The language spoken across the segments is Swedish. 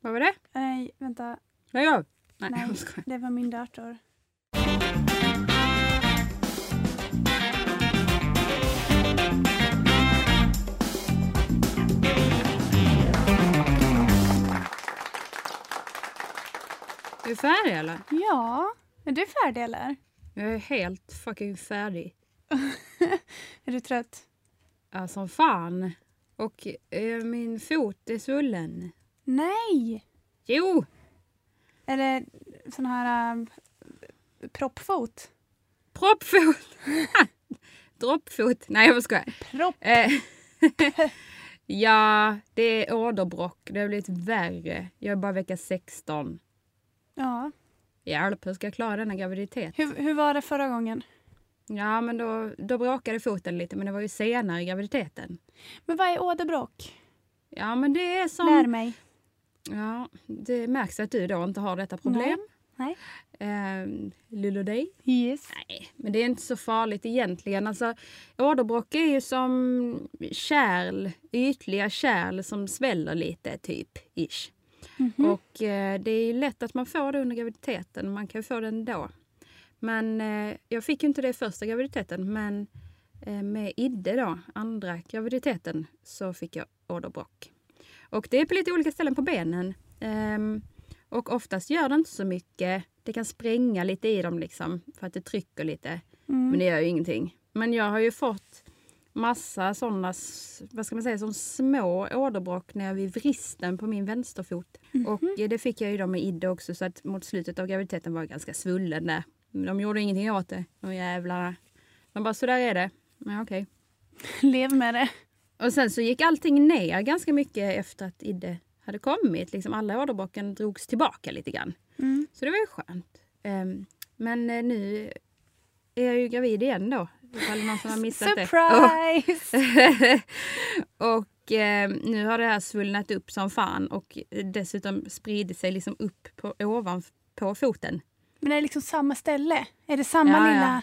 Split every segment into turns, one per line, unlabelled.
Vad var det?
Nej, vänta.
Lägg av! Nej,
Nej.
jag skojar.
Det var min dator.
Är du färdig eller?
Ja. Är du färdig eller?
Jag är helt fucking färdig.
Är du trött?
Ja, som fan. Och eh, min fot är svullen.
Nej!
Jo!
Är det sån här äh, proppfot?
Proppfot! Droppfot. Nej, jag bara skojar.
Propp?
Eh, ja, det är åderbråck. Det har blivit värre. Jag är bara vecka 16.
Ja.
Hjälp, hur ska jag klara denna graviditet?
Hur, hur var det förra gången?
Ja, men då, då bråkade foten lite, men det var ju senare i graviditeten.
Men vad är åderbråck?
Ja, men det är som...
Lär mig.
Ja, det märks att du då inte har detta problem.
Nej.
Ehm, Lille dig.
Yes.
Nej, men det är inte så farligt egentligen. Alltså, åderbråck är ju som kärl, ytliga kärl som sväller lite, typ. Ish.
Mhm.
Och eh, det är ju lätt att man får det under graviditeten. Man kan ju få det ändå. Men eh, jag fick ju inte det i första graviditeten. Men eh, med Idde då, andra graviditeten, så fick jag åderbråck. Och det är på lite olika ställen på benen. Ehm, och oftast gör det inte så mycket. Det kan spränga lite i dem liksom, för att det trycker lite.
Mm.
Men det gör ju ingenting. Men jag har ju fått massa sådana, vad ska man säga, som små åderbråck när jag vid vristen på min vänsterfot. Och eh, det fick jag ju då med Idde också så att mot slutet av graviditeten var jag ganska svullen där. Men De gjorde ingenting åt det, de jävlarna. De bara, så där är det. Men okej.
Lev med det.
Och sen så gick allting ner ganska mycket efter att Idde hade kommit. Liksom alla åderbråcken drogs tillbaka lite grann.
Mm.
Så det var ju skönt. Ehm, men eh, nu är jag ju gravid igen då. Ifall någon som har missat det.
Surprise!
och eh, nu har det här svullnat upp som fan och dessutom spridit sig liksom upp på, ovanpå foten.
Men är det liksom samma ställe? Är det samma
Ja, ja.
lilla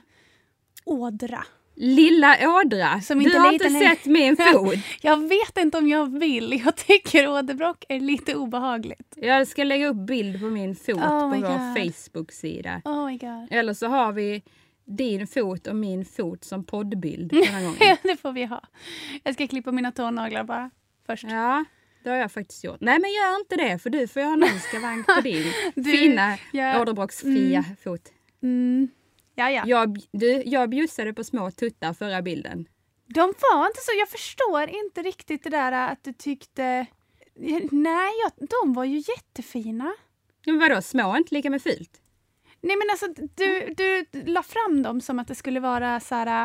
ådra?
Lilla ådra!
Som
du
inte
har
liten
inte
längre.
sett min fot!
Jag vet inte om jag vill. Jag tycker åderbråck är lite obehagligt.
Jag ska lägga upp bild på min fot
Oh
på
my
vår
God.
Facebook-sida.
Oh my god.
Eller så har vi din fot och min fot som poddbild den här gången.
Ja, det får vi ha. Jag ska klippa mina tånaglar bara först.
Ja, det har jag faktiskt gjort. Nej men gör inte det för du får göra en skavank på din
Du,
fina
jag-
åderbråcksfria fot.
Mm. Ja, ja.
Jag, du, jag bjussade på små tuttar förra bilden.
De var inte så... Jag förstår inte riktigt det där att du tyckte... Nej, jag, de var ju jättefina.
Men vadå, små är inte lika med fult?
Nej, men alltså du, du la fram dem som att det skulle vara så här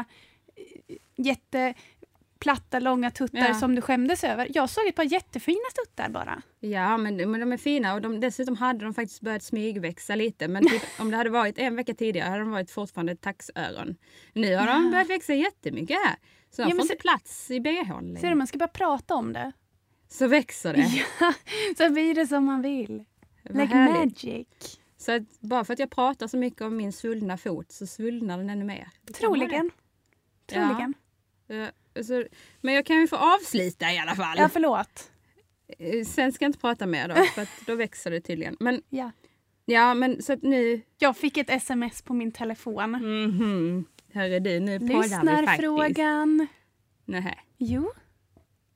eh, jätteplatta, långa tuttar
Ja.
som du skämdes över. Jag såg ett par jättefina tuttar bara.
Ja, men, men de är fina och de, dessutom hade de faktiskt börjat smygväxa lite. Men typ, om det hade varit en vecka tidigare hade de varit fortfarande taxöron. Nu har de
Ja.
börjat växa jättemycket här. Så de
Ja, men
får
se-
inte plats i bhn
Ser du,
längre.
man ska bara prata om det.
Så växer det.
Ja, så blir det som man vill.
Vad
Like
härligt.
magic.
Så att bara för att jag pratar så mycket om min svullna fot så svullnar den ännu mer. Det kan vara
Troligen.
Ja.
Troligen.
det. Ja, eh, så, men jag kan ju få avsluta i alla fall.
Ja, förlåt.
Eh, Sen ska jag inte prata mer då, för att då växer det tydligen. Men
Ja.
ja, men så att nu...
Jag fick ett sms på min telefon.
Mhm. Hörru du, nu poddar vi faktiskt.
Lyssnarfrågan.
Nähä.
Jo.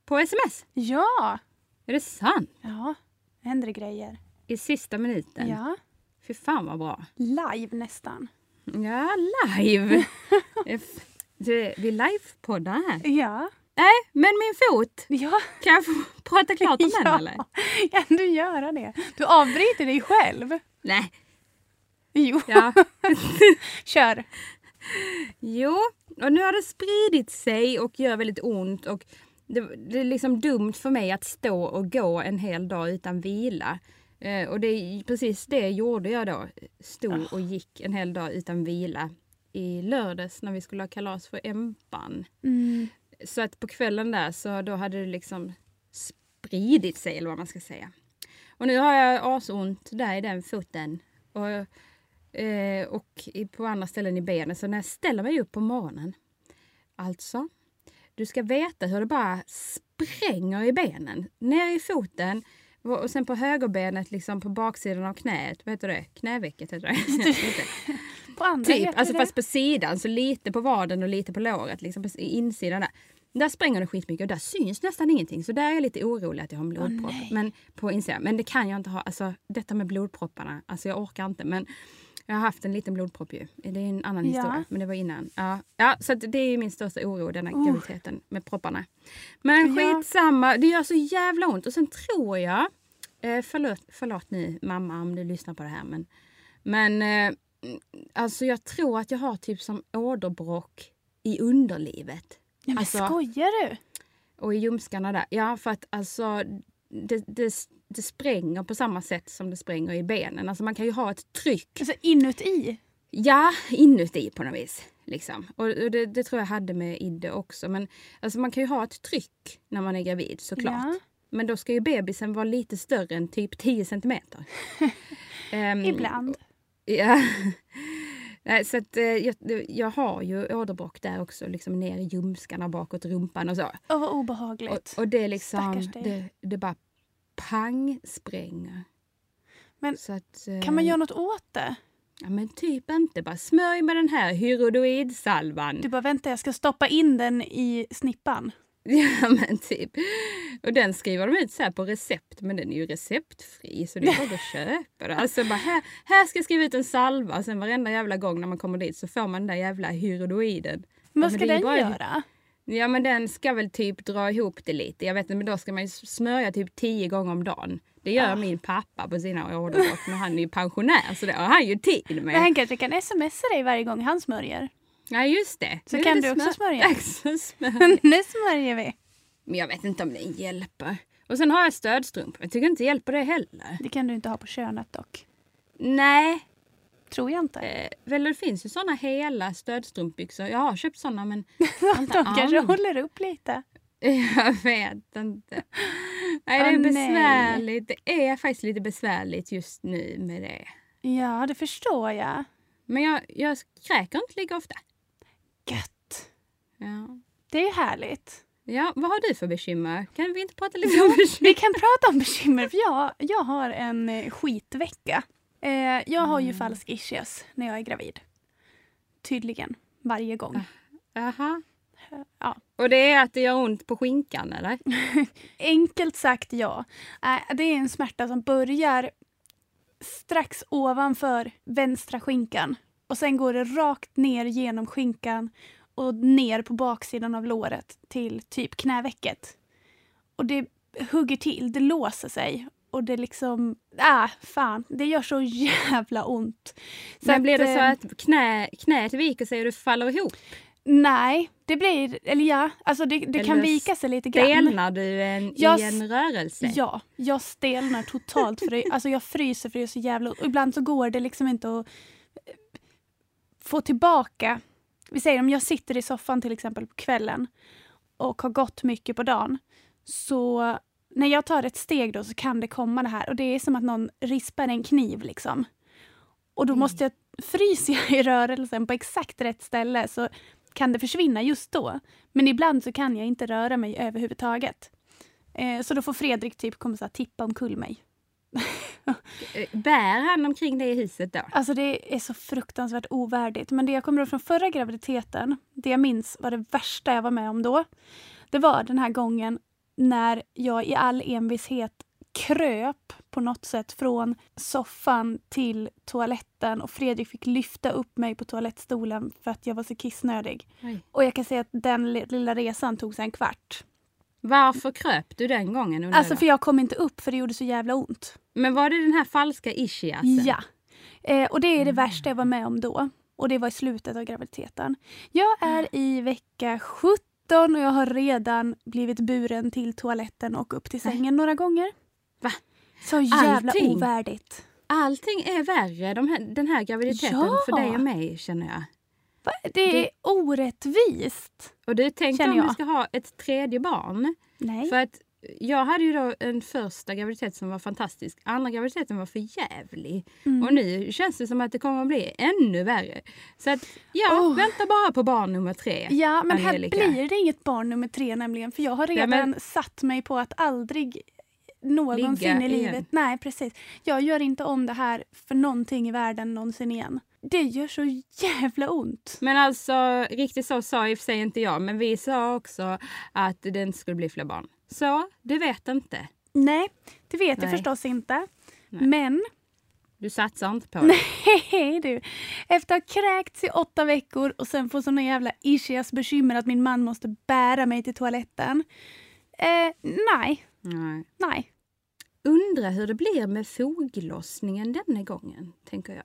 På sms?
Ja.
Är det sant?
Ja. Det händer grejer.
I sista minuten?
Ja.
Fy fan vad bra.
Live nästan.
Ja, live! F- du, vi livepoddar här.
Ja.
Nej, men min fot!
Ja.
Kan jag få prata klart om den
ja.
eller?
Kan du göra det? Du avbryter dig själv.
Nej.
Jo.
Ja.
Kör.
Jo, och nu har det spridit sig och gör väldigt ont. Och det, det är liksom dumt för mig att stå och gå en hel dag utan vila. Eh, och det, är precis det gjorde jag då. Stod och gick en hel dag utan vila i lördags när vi skulle ha kalas för Empan.
Mm.
Så att på kvällen där så då hade det liksom spridit sig eller vad man ska säga. Och nu har jag asont där i den foten. Och, eh, och i- på andra ställen i benen. Så när jag ställer mig upp på morgonen. Alltså, du ska veta hur det bara spränger i benen. Ner i foten, Och sen på högerbenet, liksom på baksidan av knät, vad heter det? Knävecket heter det. Inte.
På andra
typ,
heter
alltså
det.
fast på sidan, så lite på vaden och lite på låret, liksom på s- i insidan där. Där spränger det skitmycket och där syns nästan ingenting. Så där är jag lite orolig att jag har en blodpropp.
nej.
men, på insidan. men det kan jag inte ha. Alltså, detta med blodpropparna, alltså jag orkar inte. Men jag har haft en liten blodpropp ju. Det är en annan
Ja.
historia, men det var innan. Ja, ja så att det är ju min största oro, den här
Oh.
graviditeten med propparna. Men
Ja.
skitsamma, det gör så jävla ont. Och sen tror jag, eh, förlåt, förlåt nu mamma om du lyssnar på det här, men, men eh, alltså jag tror att jag har typ som åderbråck i underlivet.
Nej, men
alltså-
skojar du?
Och i ljumskarna där. Ja, för att alltså det, det, det spränger på samma sätt som det spränger i benen. Alltså man kan ju ha ett tryck,
Alltså inuti?
ja, inuti på något vis. Liksom. Och, och det, det tror jag hade med Idde också. Men alltså man kan ju ha ett tryck när man är gravid såklart.
Ja.
Men då ska ju bebisen vara lite större än typ 10 centimeter. Ehm,
Ibland.
Ja. Nej, så att, eh, jag, jag har ju åderbråck där också, liksom ner i ljumskarna bakåt rumpan och så.
Åh, vad obehagligt.
Och, och det är liksom,
Stackars dig.
det, det bara pang spränger.
Men
så att, eh,
kan man göra något åt det?
Ja, men typ inte. Bara smörj med den här hyrodoidsalvan.
Du bara, vänta jag ska stoppa in den i snippan.
Ja, men typ. Och den skriver de ut så här på recept, men den är ju receptfri så det är bara att köpa den. Alltså bara här, här ska jag skriva ut en salva och sen varenda jävla gång när man kommer dit så får man den där jävla hyrodoiden.
Men
Ja,
vad
men
ska
det är
den
bara-
göra?
Ja men den ska väl typ dra ihop det lite. Jag vet inte men då ska man ju smörja typ tio gånger om dagen. Det gör
Ah.
min pappa på sina åderbråck men han är ju pensionär så det har han ju tid
Men
med.
han kanske kan smsa dig varje gång han smörjer.
Ja just det.
Så
Nu är
kan
det
du också
smör-
smörja.
Extra smör.
nu smörjer vi.
Men jag vet inte om den hjälper. Och sen har jag stödstrumpor. Jag tycker inte det hjälper det heller.
Det kan du inte ha på könet dock.
Nej,
Tror jag inte.
eh, väl det finns ju såna hela stödstrumpbyxor. Jag har köpt såna men inte
De kanske
an.
håller upp lite.
jag vet inte. Nej, det
Åh,
är
nej.
besvärligt. Det är faktiskt lite besvärligt just nu med det.
Ja, det förstår jag.
Men jag, jag kräker inte lika ofta.
Gött.
Ja.
Det är ju härligt.
ja, vad har du för bekymmer? Kan vi inte prata lite om bekymmer?
Vi kan prata om bekymmer för jag, jag har en eh, skitvecka. Eh, jag har ju falsk ischias när jag är gravid. Tydligen. Varje gång.
Jaha.
Ja.
Och det är att det gör ont på skinkan eller?
Enkelt sagt ja. Eh, det är en smärta som börjar strax ovanför vänstra skinkan. Och sen går det rakt ner genom skinkan och ner på baksidan av låret till typ knävecket. Och det hugger till, det låser sig. Och det liksom, ah fan, det gör så jävla ont. Så
Sen blir det
eh,
så att knä, knät viker sig och du faller ihop.
Nej, det blir, eller ja, alltså det, det kan
Eller
vika sig lite grann.
Stelnar du en,
Jag
i en
s-
rörelse?
Ja, jag stelnar totalt. För det, alltså jag fryser för det är så jävla ont. Och ibland så går det liksom inte att eh, få tillbaka. Vi säger om jag sitter i soffan till exempel på kvällen och har gått mycket på dagen. Så när jag tar ett steg då så kan det komma det här. Och det är som att någon rispar en kniv liksom. Och då måste jag, fryser jag i rörelsen på exakt rätt ställe så kan det försvinna just då. Men ibland så kan jag inte röra mig överhuvudtaget. Eh, så då får Fredrik typ komma så här, tippa omkull mig.
Eh, Bär han omkring dig i huset då?
Alltså det är så fruktansvärt ovärdigt. Men det jag kommer ihåg från förra graviditeten, det jag minns var det värsta jag var med om då. Det var den här gången när jag i all envishet kröp på något sätt från soffan till toaletten och Fredrik fick lyfta upp mig på toalettstolen för att jag var så kissnödig.
Oj.
Och jag kan säga att den li- lilla resan tog sig en kvart.
Varför kröp du den gången? undrar
Alltså
jag?
för jag kom inte upp för det gjorde så jävla ont.
Men var det den här falska ischiasen?
Ja. Eh, och det är det värsta jag var med om då. Och det var i slutet av graviditeten. Jag är i vecka 17 och jag har redan blivit buren till toaletten och upp till sängen några gånger.
Va?
Så jävla
Allting?
ovärdigt.
Allting är värre de här, den här graviditeten
Ja.
för dig och mig känner jag.
Va? Det är orättvist.
Och du tänkte
Känner
om du
jag.
ska ha ett tredje barn?
Nej.
För att jag hade ju då en första graviditet som var fantastisk. Andra graviditeten var för jävlig.
Mm.
Och nu känns det som att det kommer att bli ännu värre. Så att, ja,
Oh.
vänta bara på barn nummer tre.
Ja, men här
Angelica.
blir det inget barn nummer tre nämligen. För jag har
Nej,
redan
men-
satt mig på att aldrig någonsin
Ligga
i livet.
igen.
Nej, precis. Jag gör inte om det här för någonting i världen någonsin igen. Det gör så jävla ont.
Men alltså, riktigt så sa i och för sig inte jag, men vi sa också att det inte skulle bli fler barn. Så, du vet inte.
Nej, det vet
Nej.
jag förstås inte.
Nej.
Men
Du satsar inte på det.
Hej du! Efter att ha kräkts i åtta veckor och sen få såna jävla ischias bekymmer att min man måste bära mig till toaletten. Eh, nej,
Nej.
nej.
Undra hur det blir med foglossningen denna gången, tänker jag.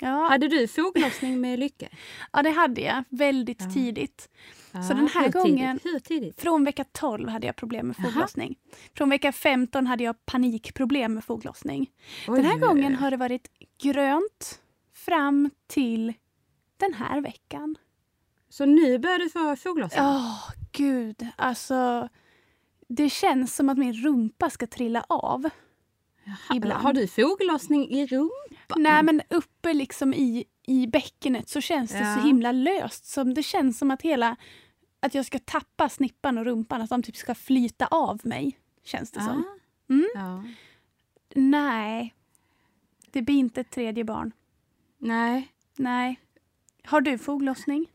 Ja,
Hade du foglossning med Lycke?
ja det hade jag väldigt
Ja.
tidigt.
Ja,
Så den här
hur
gången-
Tidigt? Hur tidigt?
Från vecka 12 hade jag problem med
Jaha.
foglossning. Från vecka 15 hade jag panikproblem med foglossning.
Oj.
Den här gången har det varit grönt fram till den här veckan.
Så nu börjar du få foglossning?
Ja, gud. Alltså, det känns som att min rumpa ska trilla av.
Jaha,
ibland.
Har du foglossning i rumpan?
Nej, men uppe liksom i, i bäckenet så känns det
Ja.
så himla löst. Som det känns som att hela att jag ska tappa snippan och rumpan, att de typ ska flyta av mig. Känns det som.
Ah. Ja.
Mm.
Ja.
Nej, det blir inte ett tredje barn.
Nej.
Nej. Har du foglossning?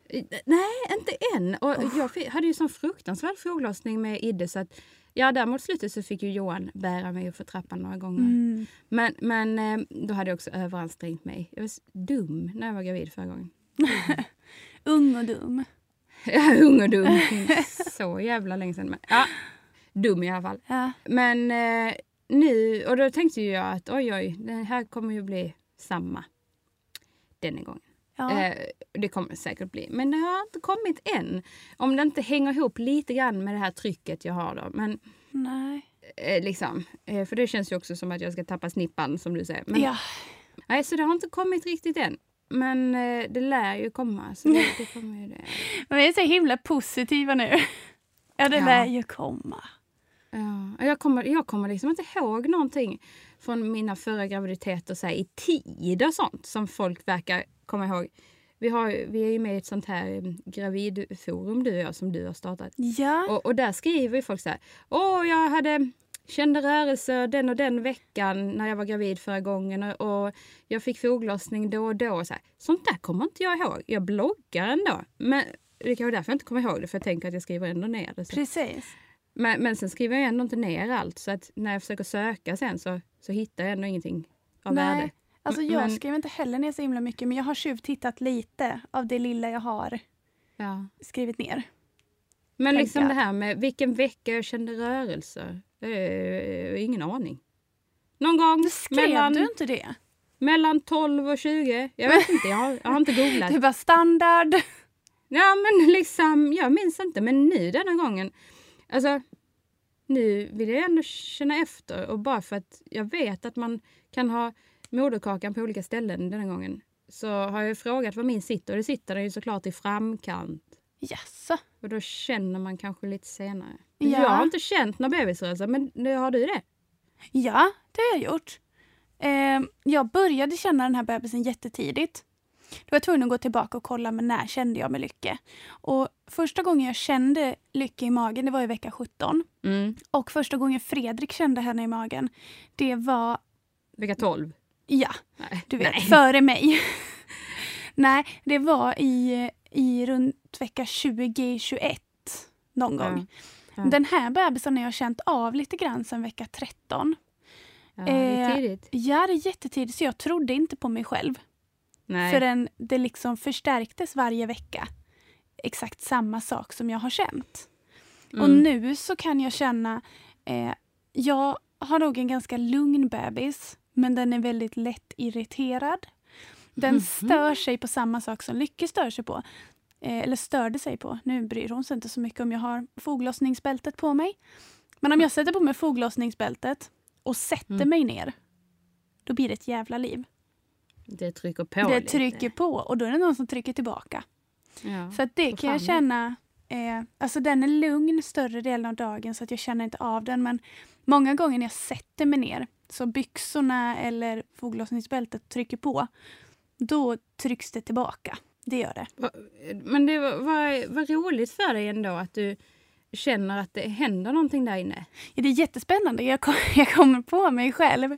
Nej, inte än. Och jag fi- hade ju sån fruktansvärd foglossning med Idde. Så att, ja, där mot slutet så fick ju Johan bära mig uppför trappan några gånger.
Mm.
Men, men eh, då hade jag också överansträngt mig. Jag var s- dum när jag var gravid förra gången.
Ung och dum.
Jag är ung och dum. Så jävla länge sedan. Men, ja, dum i alla fall.
Ja.
Men eh, nu, och då tänkte ju jag att oj, oj, det här kommer ju bli samma denna gången.
Ja.
Eh, det kommer det säkert bli. Men det har inte kommit än. Om det inte hänger ihop lite grann med det här trycket jag har då. Men
Nej.
eh, liksom, eh, för det känns ju också som att jag ska tappa snippan som du säger. Men,
Ja.
Nej, så det har inte kommit riktigt än. Men eh, det lär ju komma. Så det, det kommer ju det.
Men vi är så himla positiva nu. Ja, det
Ja.
lär ju komma.
Ja, jag, kommer, jag kommer liksom inte ihåg någonting från mina förra graviditeter så här, i tid och sånt som folk verkar komma ihåg. Vi, har, ju- vi är ju med i ett sånt här eh, gravidforum du och jag som du har startat.
Ja.
Och, och där skriver ju folk så här. Åh, jag hade kände rörelser den och den veckan när jag var gravid förra gången och, och jag fick foglossning då och då. Och så här. Sånt där kommer inte jag ihåg. Jag bloggar ändå. Men det är kanske därför jag inte kommer ihåg det, för jag tänker att jag skriver ändå ner det. Så.
Precis.
Men, men sen skriver jag ändå inte ner allt, så att när jag försöker söka sen så, så hittar jag ändå ingenting av värde.
Alltså
M-
jag
men-
skrev inte heller ner så himla mycket men jag har tjuvtittat lite av det lilla jag har
Ja.
skrivit ner.
Men
Tänker
liksom
jag.
det här med vilken vecka jag kände rörelser. Det är ingen aning. Någon gång
Då skrev
mellan
du inte det?
Mellan 12 och 20. Jag vet inte, jag har, jag har inte googlat.
Du bara standard.
Ja, men liksom, jag minns inte. Men nu denna gången, alltså, nu vill jag ändå känna efter. Och bara för att jag vet att man kan ha moderkakan på olika ställen denna gången så har jag frågat var min sitter och det sitter den ju såklart i framkant.
Jaså?
Och då känner man kanske lite senare.
Ja.
Jag har inte känt några bebisrörelser, men nu har du det?
Ja, det har jag gjort. Eh, jag började känna den här bebisen jättetidigt. Då var jag tvungen att gå tillbaka och kolla men när kände jag med Lycke. Och första gången jag kände Lycke i magen det var i vecka 17.
Mm.
Och första gången Fredrik kände henne i magen det var,
Vecka 12?
ja,
Nej.
du vet,
Nej.
före mig. Nej, det var i, i runt vecka 20-21 någon
Ja.
gång.
Ja.
Den här bebisen har jag känt av lite grann sedan vecka 13.
Ja, det är
Eh,
tidigt.
Ja, det är jättetidigt så jag trodde inte på mig själv
Nej.
förrän det liksom förstärktes varje vecka. Exakt samma sak som jag har känt. Och
Mm.
nu så kan jag känna, eh, jag har nog en ganska lugn bebis men den är väldigt lätt irriterad. Den
Mhm.
stör sig på samma sak som Lycke stör sig på. Eh, eller störde sig på. Nu bryr hon sig inte så mycket om jag har foglossningsbältet på mig. Men om jag sätter på mig foglossningsbältet och sätter
Mm.
mig ner, då blir det ett jävla liv.
Det trycker på
det
lite.
trycker på och då är det någon som trycker tillbaka.
Ja.
Så att det
Vad
kan jag
fan.
känna, eh, alltså den är lugn större delen av dagen så att jag känner inte av den men många gånger när jag sätter mig ner, så byxorna eller foglossningsbältet trycker på, då trycks det tillbaka. Det gör det.
Va- Men det var, var, var roligt för dig ändå att du känner att det händer någonting där inne.
Ja, det är jättespännande. Jag, kom, jag kommer på mig själv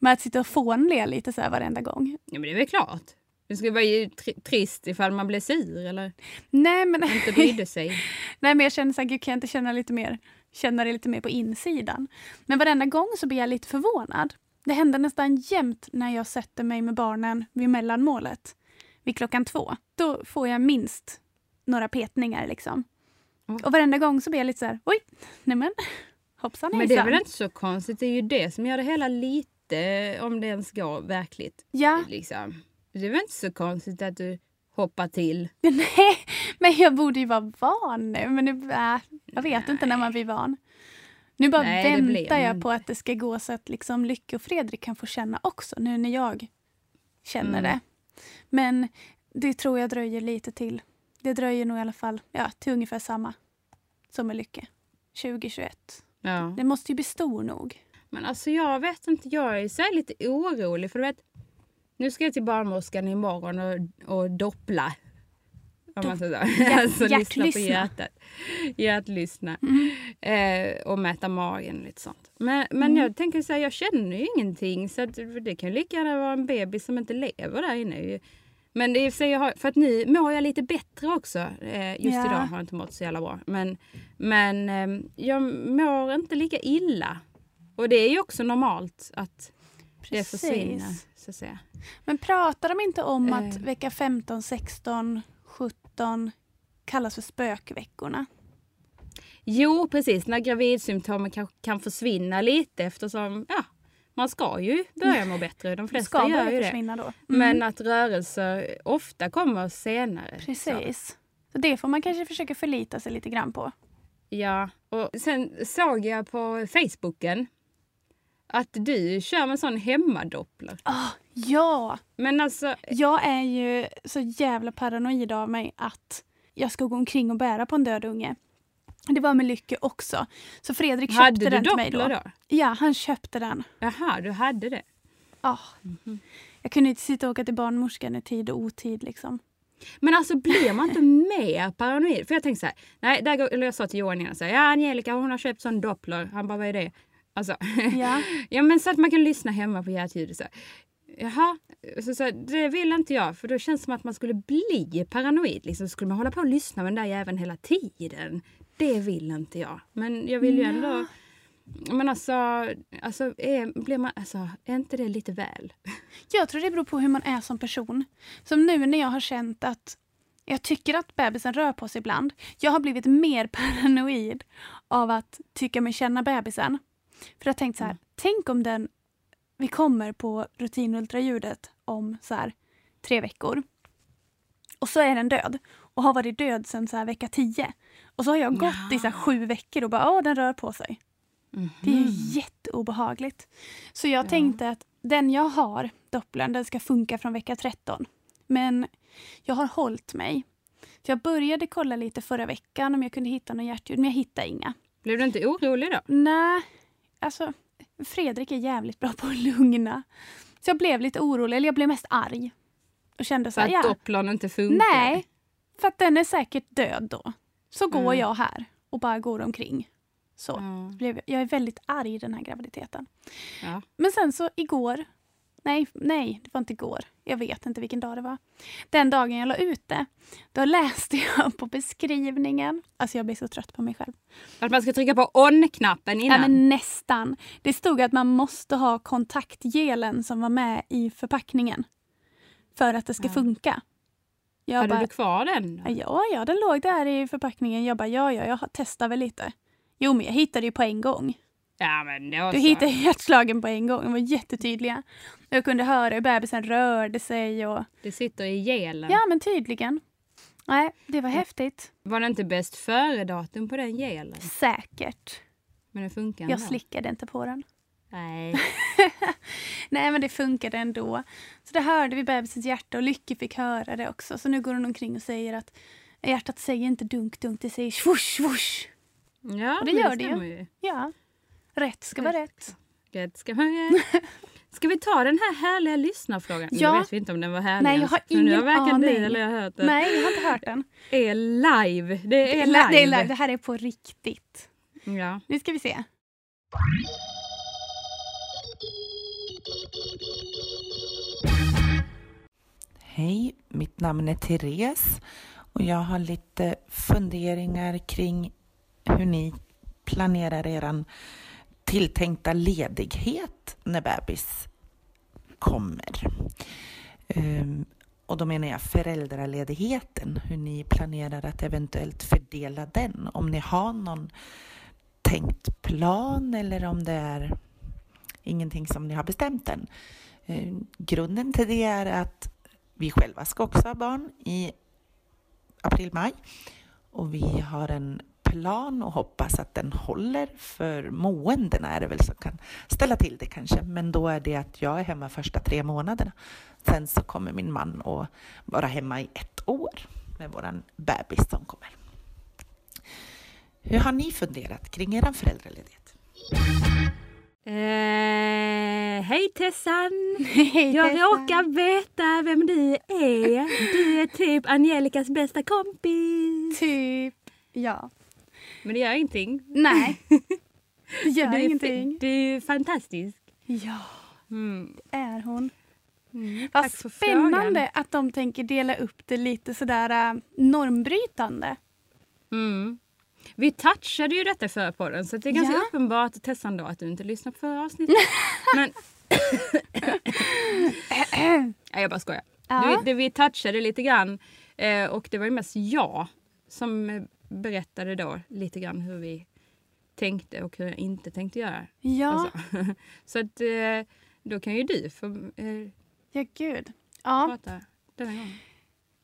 med att sitta och fånle lite så här varenda gång.
Ja, men det är väl klart. Det skulle vara ju tri- trist ifall man blev sur eller
Nej, men,
inte brydde sig.
nej, men jag känner så här, gud, kan jag inte känna, lite mer, känna det lite mer på insidan? Men varenda gång så blir jag lite förvånad. Det händer nästan jämt när jag sätter mig med barnen vid mellanmålet vid klockan två. Då får jag minst några petningar. liksom.
Mm.
Och varenda gång så blir jag lite så här, oj, nämen, hoppsan
Men det är
hejsan.
väl inte så konstigt. Det är ju det som gör det hela lite, om det ens går verkligt.
Ja,
Liksom. Det är väl inte så konstigt att du hoppar till.
Nej, men jag borde ju vara van nu. Men nu, äh, jag vet inte när man blir van. Nu bara
Nej, det blir mm.
väntar
man
jag
inte.
på att det ska gå så att liksom Lycke och Fredrik kan få känna också, nu när jag känner
Mm.
det. Men det tror jag dröjer lite till. Det dröjer nog i alla fall ja, till ungefär samma som med Lycke. 2021.
Ja.
Den måste ju bli stor nog.
Men alltså jag vet inte, jag är så här lite orolig för du vet, nu ska jag till barnmorskan imorgon och, och doppla. Om man säger så.
hjärt-
lyssna på
hjärtlyssna.
hjärtat. Hjärtlyssna.
Mm.
Eh, och mäta magen och lite sånt. Men, men
Mm.
jag tänker så här, jag känner ju ingenting så att det kan ju lika gärna vara en bebis som inte lever där inne. ju. Men det är i och för sig, jag har- för att nu mår jag lite bättre också. Eh, just
Ja.
idag har jag inte mått så jävla bra. Men, men ehm, jag mår inte lika illa. Och det är ju också normalt att det försvinner. Så att säga.
Men pratar de inte om att
Eh.
vecka 15, 16, 17 kallas för spökveckorna?
Jo, precis. När gravidsymptomen kan, kan försvinna lite eftersom ja, man ska ju börja må bättre. De flesta
Ska
gör
börja
ju det.
försvinna då. Mm.
Men att rörelser ofta kommer senare. Så.
Precis. Så det får man kanske försöka förlita sig lite grann på.
Ja. Och sen såg jag på Facebooken att du kör med sån hemmadoppler.
Ah, ja!
Men alltså,
Jag är ju så jävla paranoid av mig att jag ska gå omkring och bära på en död unge. Det var med Lycke också. Så Fredrik köpte
hade du
den till mig då.
doppler då?
Ja, han köpte den.
Jaha, du hade det.
Ah.
Mhm.
Jag kunde inte sitta och åka till barnmorskan i tid och otid. Liksom.
Men alltså blir man inte mer paranoid? För jag tänkte så här, nej, där går, eller jag sa till Johan innan så här, ja Angelica hon har köpt sån doppler. Han bara, vad är det? Alltså,
Ja.
ja men så att man kan lyssna hemma på hjärtljudet så här. Jaha, så, så, här, det vill inte jag för då känns det som att man skulle bli paranoid. Liksom, skulle man hålla på och lyssna med den där jäveln hela tiden? Det vill inte jag. Men jag vill ju ändå... Men alltså, alltså, är, blir man, alltså, är inte det lite väl?
Jag tror det beror på hur man är som person. Som nu när jag har känt att jag tycker att bebisen rör på sig ibland. Jag har blivit mer paranoid av att tycka mig känna bebisen. För jag har tänkt så här, tänk om den... Vi kommer på rutinultraljudet om så här, tre veckor. Och så är den död. Och har varit död sedan så här, vecka tio. Och så har jag gått i så här, sju veckor och bara, åh den rör på sig. Det är ju
Mhm.
jätteobehagligt. Så jag
Mm. Ja.
tänkte att den jag har, dopplern, den ska funka från vecka 13. Men jag har hållit mig. Så jag började kolla lite förra veckan om jag kunde hitta några hjärtljud, men jag hittade inga.
Blev du inte orolig då?
Nej, alltså Fredrik är jävligt bra på att lugna. Så jag blev lite orolig, eller jag blev mest arg. Och kände så
För
här,
att
ja,
dopplern inte funkar?
nej, för att den är säkert död då. Så går
Mm.
jag här och bara går omkring. Så.
Ja.
Blev, jag är väldigt arg den här graviditeten.
Ja.
Men sen så igår, nej, nej, det var inte igår. Jag vet inte vilken dag det var. Den dagen jag la ut det, då läste jag på beskrivningen. Alltså jag blir så trött på mig själv.
Att man ska trycka på on-knappen
Nej,
innan?
men nästan. Det stod att man måste ha kontaktgelen som var med i förpackningen för att det ska
Ja.
funka. Jag
Hade
bara,
du kvar den? då?
Ja, ja, den låg där i förpackningen. Jag bara, ja, ja, jag testar väl lite. Jo, men jag hittade ju på en gång.
Ja, men då
Du
så.
hittade hjärtslagen på en gång. De var jättetydliga. Jag kunde höra hur bebisen rörde sig. Och...
Det sitter i gelen.
Ja, men tydligen. Nej, det var häftigt.
Var det inte bäst före-datum på den gelen?
Säkert.
Men den funkar
Jag
ändå.
slickade inte på den.
Nej.
Nej, men det funkade ändå. Så det hörde vi bebisens hjärta och Lycke fick höra det också. Så nu går hon omkring och säger att hjärtat säger inte dunk, dunk, det säger swoosh, swoosh.
Ja,
Och det
men
gör det ju.
stämmer ju.
Ja, rätt ska vara rätt.
Rätt ska man rätt. Ska vi ta den här härliga lyssnarfrågan?
Ja.
Nu vet vi inte om den var härlig.
Nej, jag
ens,
har
för Nu har
ingen
varken du
aning.
eller jag hört den.
Nej, jag har inte hört den.
Är live. Det är
li-
live.
Det, är live. det här är på riktigt.
Ja.
Nu ska vi se.
Hej, mitt namn är Therese och jag har lite funderingar kring hur ni planerar er tilltänkta ledighet när bebis kommer. Ehm, och då menar jag föräldraledigheten, hur ni planerar att eventuellt fördela den. Om ni har någon tänkt plan eller om det är ingenting som ni har bestämt än. Ehm, grunden till det är att vi själva ska också ha barn i april-maj. Och vi har en plan och hoppas att den håller för måendena är det väl som kan ställa till det kanske. Men då är det att jag är hemma första tre månaderna. Sen så kommer min man att vara hemma i ett år med våran bebis som kommer. Hur har ni funderat kring er föräldraledighet?
Eh, hej Tessan!
Hej,
Jag
Tessa.
råkar veta vem du är. Du är typ Angelicas bästa kompis.
Typ, ja.
Men det gör ingenting.
Nej. Det gör
Du är,
ingenting.
Du är fantastisk.
Ja,
Mm.
är hon.
Tack
Vad
för
spännande att de tänker dela upp det lite sådär äh, normbrytande.
Mm. Vi touchade ju detta i förra podden, så det är ganska
Ja.
uppenbart Tessan då att du inte lyssnade på förra avsnittet. Men... Nej, jag bara skojar.
Ja.
Du, det, vi touchade lite grann eh, och det var ju mest jag som eh, berättade då lite grann hur vi tänkte och hur jag inte tänkte göra.
Ja,
Alltså. så att eh, då kan ju du få eh,
ja gud. Ja,
prata denna gången.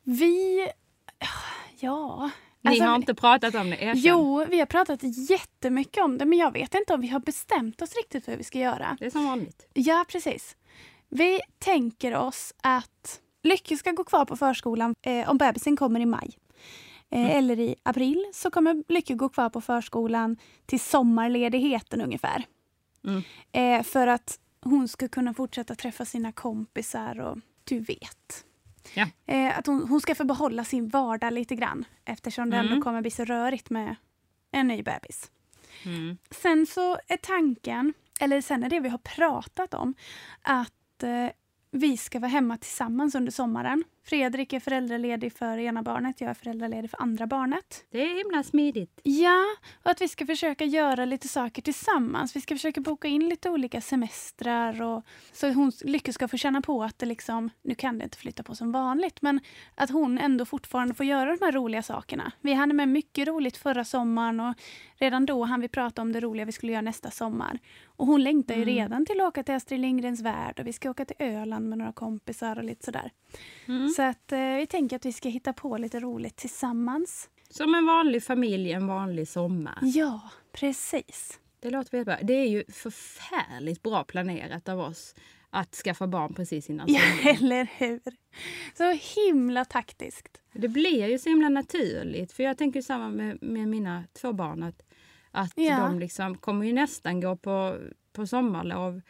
vi... Ja.
Ni
Alltså,
har inte pratat om det, erkänn.
Jo, vi har pratat jättemycket om det men jag vet inte om vi har bestämt oss riktigt hur vi ska göra.
Det är som vanligt.
Ja, precis. Vi tänker oss att Lycke ska gå kvar på förskolan eh, om bebisen kommer i maj. Eh,
Mm.
Eller i april så kommer Lycke gå kvar på förskolan till sommarledigheten ungefär.
Mm.
Eh, för att hon ska kunna fortsätta träffa sina kompisar och du vet.
Ja.
Eh, att hon, hon ska få behålla sin vardag lite grann eftersom det
Mm.
ändå kommer bli så rörigt med en ny bebis.
Mm.
Sen så är tanken, eller sen är det vi har pratat om, att eh, vi ska vara hemma tillsammans under sommaren. Fredrik är föräldraledig för ena barnet, jag är föräldraledig för andra barnet.
Det är himla smidigt.
Ja, och att vi ska försöka göra lite saker tillsammans. Vi ska försöka boka in lite olika semestrar och så att hon Lycke ska få känna på att det liksom, nu kan det inte flytta på som vanligt, men att hon ändå fortfarande får göra de här roliga sakerna. Vi hann med mycket roligt förra sommaren och redan då hann vi prata om det roliga vi skulle göra nästa sommar. Och hon längtar ju
Mm.
redan till att åka till Astrid Lindgrens värld och vi ska åka till Öland med några kompisar och lite sådär.
Mm.
Så att eh, vi tänker att vi ska hitta på lite roligt tillsammans.
Som en vanlig familj, en vanlig sommar.
Ja, precis.
Det låter väldigt bra. Det är ju förfärligt bra planerat av oss att skaffa barn precis innan
Ja,
sommaren.
eller hur? Så himla taktiskt.
Det blir ju så himla naturligt. För jag tänker ju samma med, med mina två barn. Att, att
Ja.
de liksom kommer ju nästan gå på, på sommarlov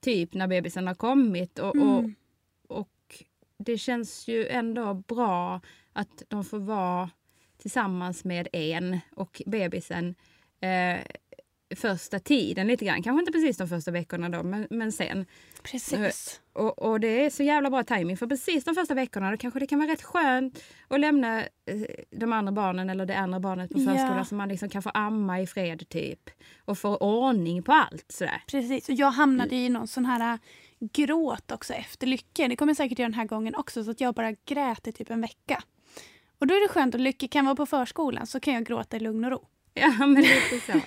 typ när bebisen har kommit. Och,
Mm.
och, och det känns ju ändå bra att de får vara tillsammans med en och bebisen eh, första tiden lite grann. Kanske inte precis de första veckorna då, men, men sen.
Precis.
Och, och det är så jävla bra timing för precis de första veckorna då kanske det kan vara rätt skönt att lämna eh, de andra barnen eller det andra barnet på
Ja.
förskolan så man liksom kan få amma i fred typ. Och få ordning på allt sådär.
Precis. Och jag hamnade
Mm.
i någon sån här äh, gråt också efter Lycke. Det kommer jag säkert göra den här gången också så att jag bara grät i typ en vecka. Och då är det skönt att Lycke kan vara på förskolan så kan jag gråta i lugn och ro.
Ja, men lite så.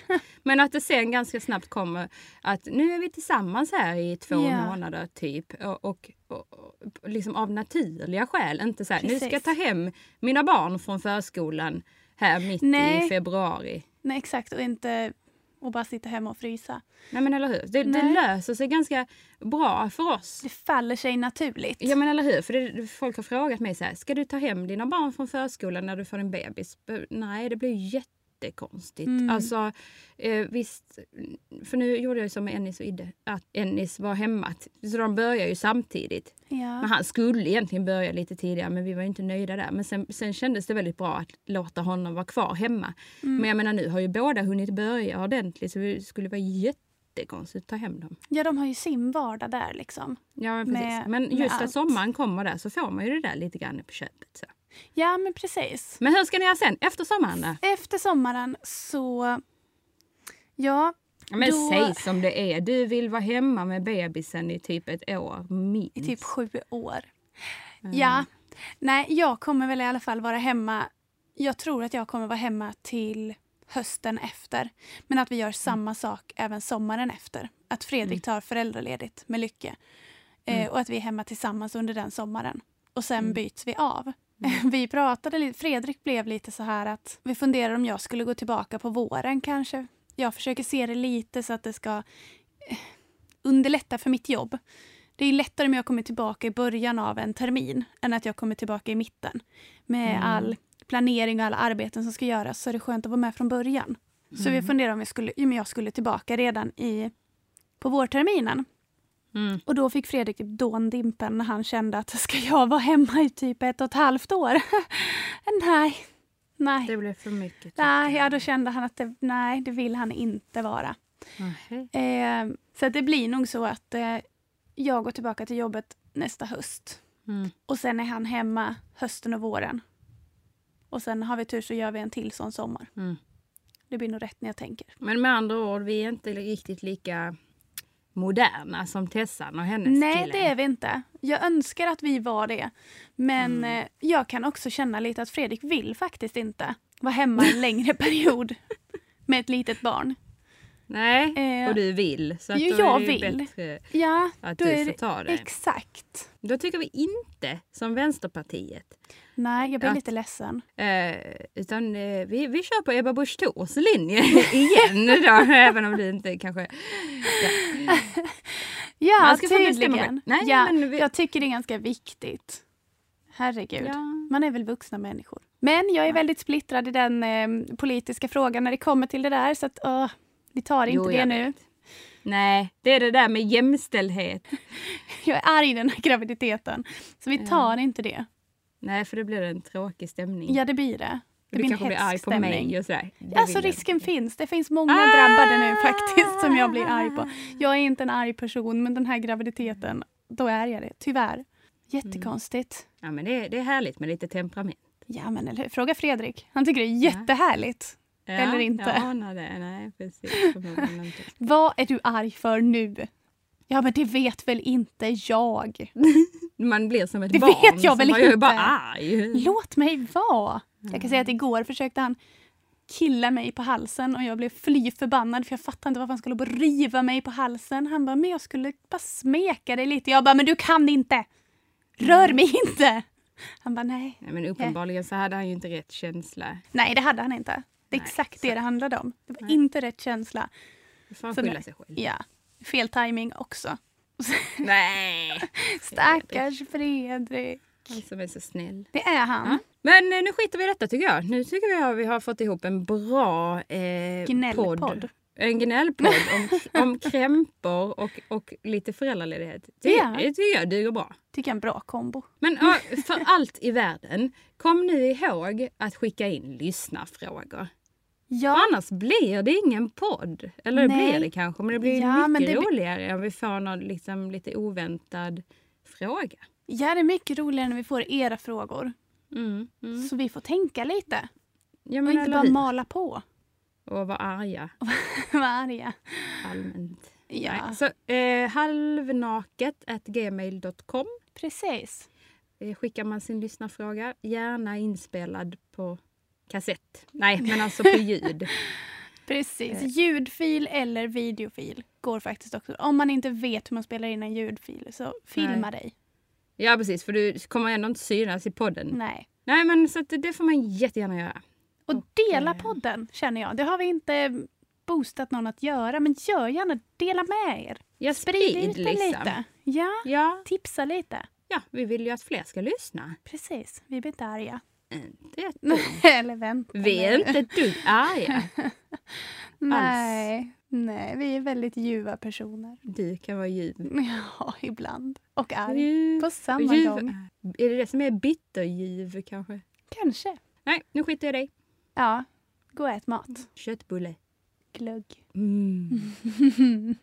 Men att det sen ganska snabbt kommer att nu är vi tillsammans här i två
Ja.
månader typ. Och, och, och, och liksom av naturliga skäl. Inte så här, nu ska jag
Precis.
ta hem mina barn från förskolan här mitt i
Nej.
februari.
Nej, exakt. Och inte och bara sitta hemma och frysa.
Nej men eller hur. Det, det
Nej.
löser sig ganska bra för oss.
Det faller sig naturligt.
Ja men eller hur, för det, folk har frågat mig så här, ska du ta hem dina barn från förskolan när du får en bebis? B- Nej, det blir ju jättekonstigt.
Mm.
Alltså, eh, visst, för nu gjorde jag ju som med Ennis och Idde, att Ennis var hemma. Så de började ju samtidigt. Men
Ja.
han skulle egentligen börja lite tidigare, men vi var ju inte nöjda där. Men sen, sen kändes det väldigt bra att låta honom vara kvar hemma.
Mm.
Men jag menar, nu har ju båda hunnit börja ordentligt, så det skulle vara jättekonstigt att ta hem dem.
ja, de har ju sin vardag där liksom.
Ja, men, precis.
Med-
men
med
just att
allt.
sommaren kommer där så får man ju det där lite grann på köpet. Så.
Ja, men precis.
Men hur ska ni göra sen, efter sommaren? Då?
Efter sommaren så... Ja,
Men
Då-
säg som det är. Du vill vara hemma med bebisen i typ ett år, minst.
i typ sju år. Ja. Nej, jag kommer väl i alla fall vara hemma. Jag tror att jag kommer vara hemma till hösten efter. Men att vi gör samma sak även sommaren efter. Att Fredrik tar föräldraledigt med Lycke.
Mm.
Eh, och att vi är hemma tillsammans under den sommaren. Och sen byts vi av.
Mm.
Vi pratade lite, Fredrik blev lite så här att vi funderar om jag skulle gå tillbaka på våren kanske. Jag försöker se det lite så att det ska eh, underlätta för mitt jobb. Det är lättare om jag kommer tillbaka i början av en termin än att jag kommer tillbaka i mitten. Med
Mm.
all planering och alla arbeten som ska göras så är det skönt att vara med från början. Så vi
Mm.
funderade om jag skulle, om jag skulle tillbaka redan i, på vårterminen.
Mm.
Och då fick Fredrik typ dåndimpen när han kände att ska jag vara hemma i typ ett och ett halvt år? nej, nej.
Det blev för mycket. tyckte
Nej, ja,
jag.
då kände han att det, nej, det vill han inte vara.
Nähä.
Eh, så att det blir nog så att eh, jag går tillbaka till jobbet nästa höst.
Mm.
Och sen är han hemma hösten och våren. Och sen har vi tur så gör vi en till sån sommar.
Mm.
Det blir nog rätt när jag tänker.
Men med andra ord, vi är inte riktigt lika moderna som Tessan och hennes
Nej,
kille.
det är vi inte. Jag önskar att vi var det. Men
Mm.
eh, jag kan också känna lite att Fredrik vill faktiskt inte vara hemma en längre period med ett litet barn.
Nej,
Eh,
och du vill. Så att
jo,
då är
jag
det ju
vill.
bättre
Ja,
att
Då är
du får
det
ta det.
exakt.
Då tycker vi inte som Vänsterpartiet.
Nej, jag blir
Att-
lite ledsen.
Eh, utan eh, vi, vi kör på Ebba Busch Thors linje igen då, även om du inte kanske...
Ja,
Man ska få bestämma själv.
tydligen.
Nej,
ja,
men vi-
Jag tycker det är ganska viktigt. Herregud.
Ja.
Man är väl vuxna människor. Men jag är väldigt splittrad i den eh, politiska frågan när det kommer till det där. Så att, åh, vi tar inte
Jo,
det
jag
nu.
Nej, det är det där med jämställdhet.
Jag är arg i den här graviditeten. Så vi tar inte det.
Mm. Nej, för det blir en tråkig stämning.
Ja, det blir det.
du
Det blir en
kanske blir arg
hätsk
på mig
stämning.
och sådär. Det
Alltså
vill jag
risken
inte. Ah!
finns. Det finns många drabbade nu faktiskt som jag blir arg på. Jag är inte en arg person, men den här graviditeten, då är jag det. Tyvärr. Jättekonstigt.
Ja, men det, det är härligt med lite temperament.
Ja, men eller hur? Fråga Fredrik. Han tycker det är jättehärligt.
Ja,
Eller inte.
Jag anar det. Nej, precis. Förmodligen inte.
Vad är du arg för nu? Ja, men det vet väl inte jag.
Man blir som ett
Det
barn.
vet jag
som
väl
bara, Jag är
inte."
bara arg.
Låt mig vara! Jag kan säga att igår försökte han killa mig på halsen och jag blev fly förbannad för jag fattade inte varför han skulle bara riva mig på halsen. Han bara, men jag skulle bara smeka dig lite. Jag bara, men du kan inte! Rör mig inte! Han bara, nej.
Nej, men uppenbarligen så hade han ju inte rätt känsla.
Nej, det hade han inte. Det är
Nej,
exakt
så-
det det handlade om. Det var inte rätt känsla.
Då får han
Så
skylla
nej.
sig själv.
Ja, fel timing också.
Nej!
Stackars Fredrik.
Han som är så snäll.
Det är han.
Ja. Men eh, nu skiter vi i detta tycker jag. Nu tycker jag vi har fått ihop en bra eh,
Gnällpodd.
En gnällpodd om, om krämpor och, och lite föräldraledighet. Det,
Ja.
det tycker jag duger bra.
Tycker jag är en bra kombo.
Men ja, för allt i världen, kom nu ihåg att skicka in lyssnarfrågor.
Ja,
Annars blir det ingen podd. Eller det
Nej.
blir det kanske, men det blir
Ja, men
mycket
det blir-
roligare om vi får någon liksom, lite oväntad fråga.
ja, det är mycket roligare när vi får era frågor.
Mm, mm.
Så vi får tänka lite.
Ja,
Och
men
inte
eller
bara
hur?
mala på.
Och vara arga
Vad arga.
allmänt.
Ja,
Nej, så eh, halvnaket gmail.com
precis.
eh, skickar man sin lyssnarfråga. Gärna inspelad på kassett. Nej, men alltså på ljud.
Precis. Ljudfil eller videofil går faktiskt också. Om man inte vet hur man spelar in en ljudfil så filma dig.
Ja, precis. För du kommer ändå inte synas i podden. Nej,
Nej.
men så att det får man jättegärna göra.
Och eh, dela podden känner jag. Det har vi inte boostat någon att göra, men gör gärna. Dela med er.
Ja, liksom.
Sprid liksom. ut den lite. Ja,
Ja,
tipsa lite.
ja, vi vill ju att fler ska lyssna.
Precis. Vi blir inte arga.
inte ett
Eller vänta.
Vi är inte ett dugg arga.
Nej. Nej, vi är väldigt ljuva personer.
Du kan vara ljuv.
Ja, ibland. Och arg.
Ljuv.
På samma
Ljuv.
gång.
Är det det som är bitterljuv kanske?
Kanske.
Nej, nu skiter jag i dig.
Ja. Gå och ät mat.
Köttbulle.
Glögg.
Mm.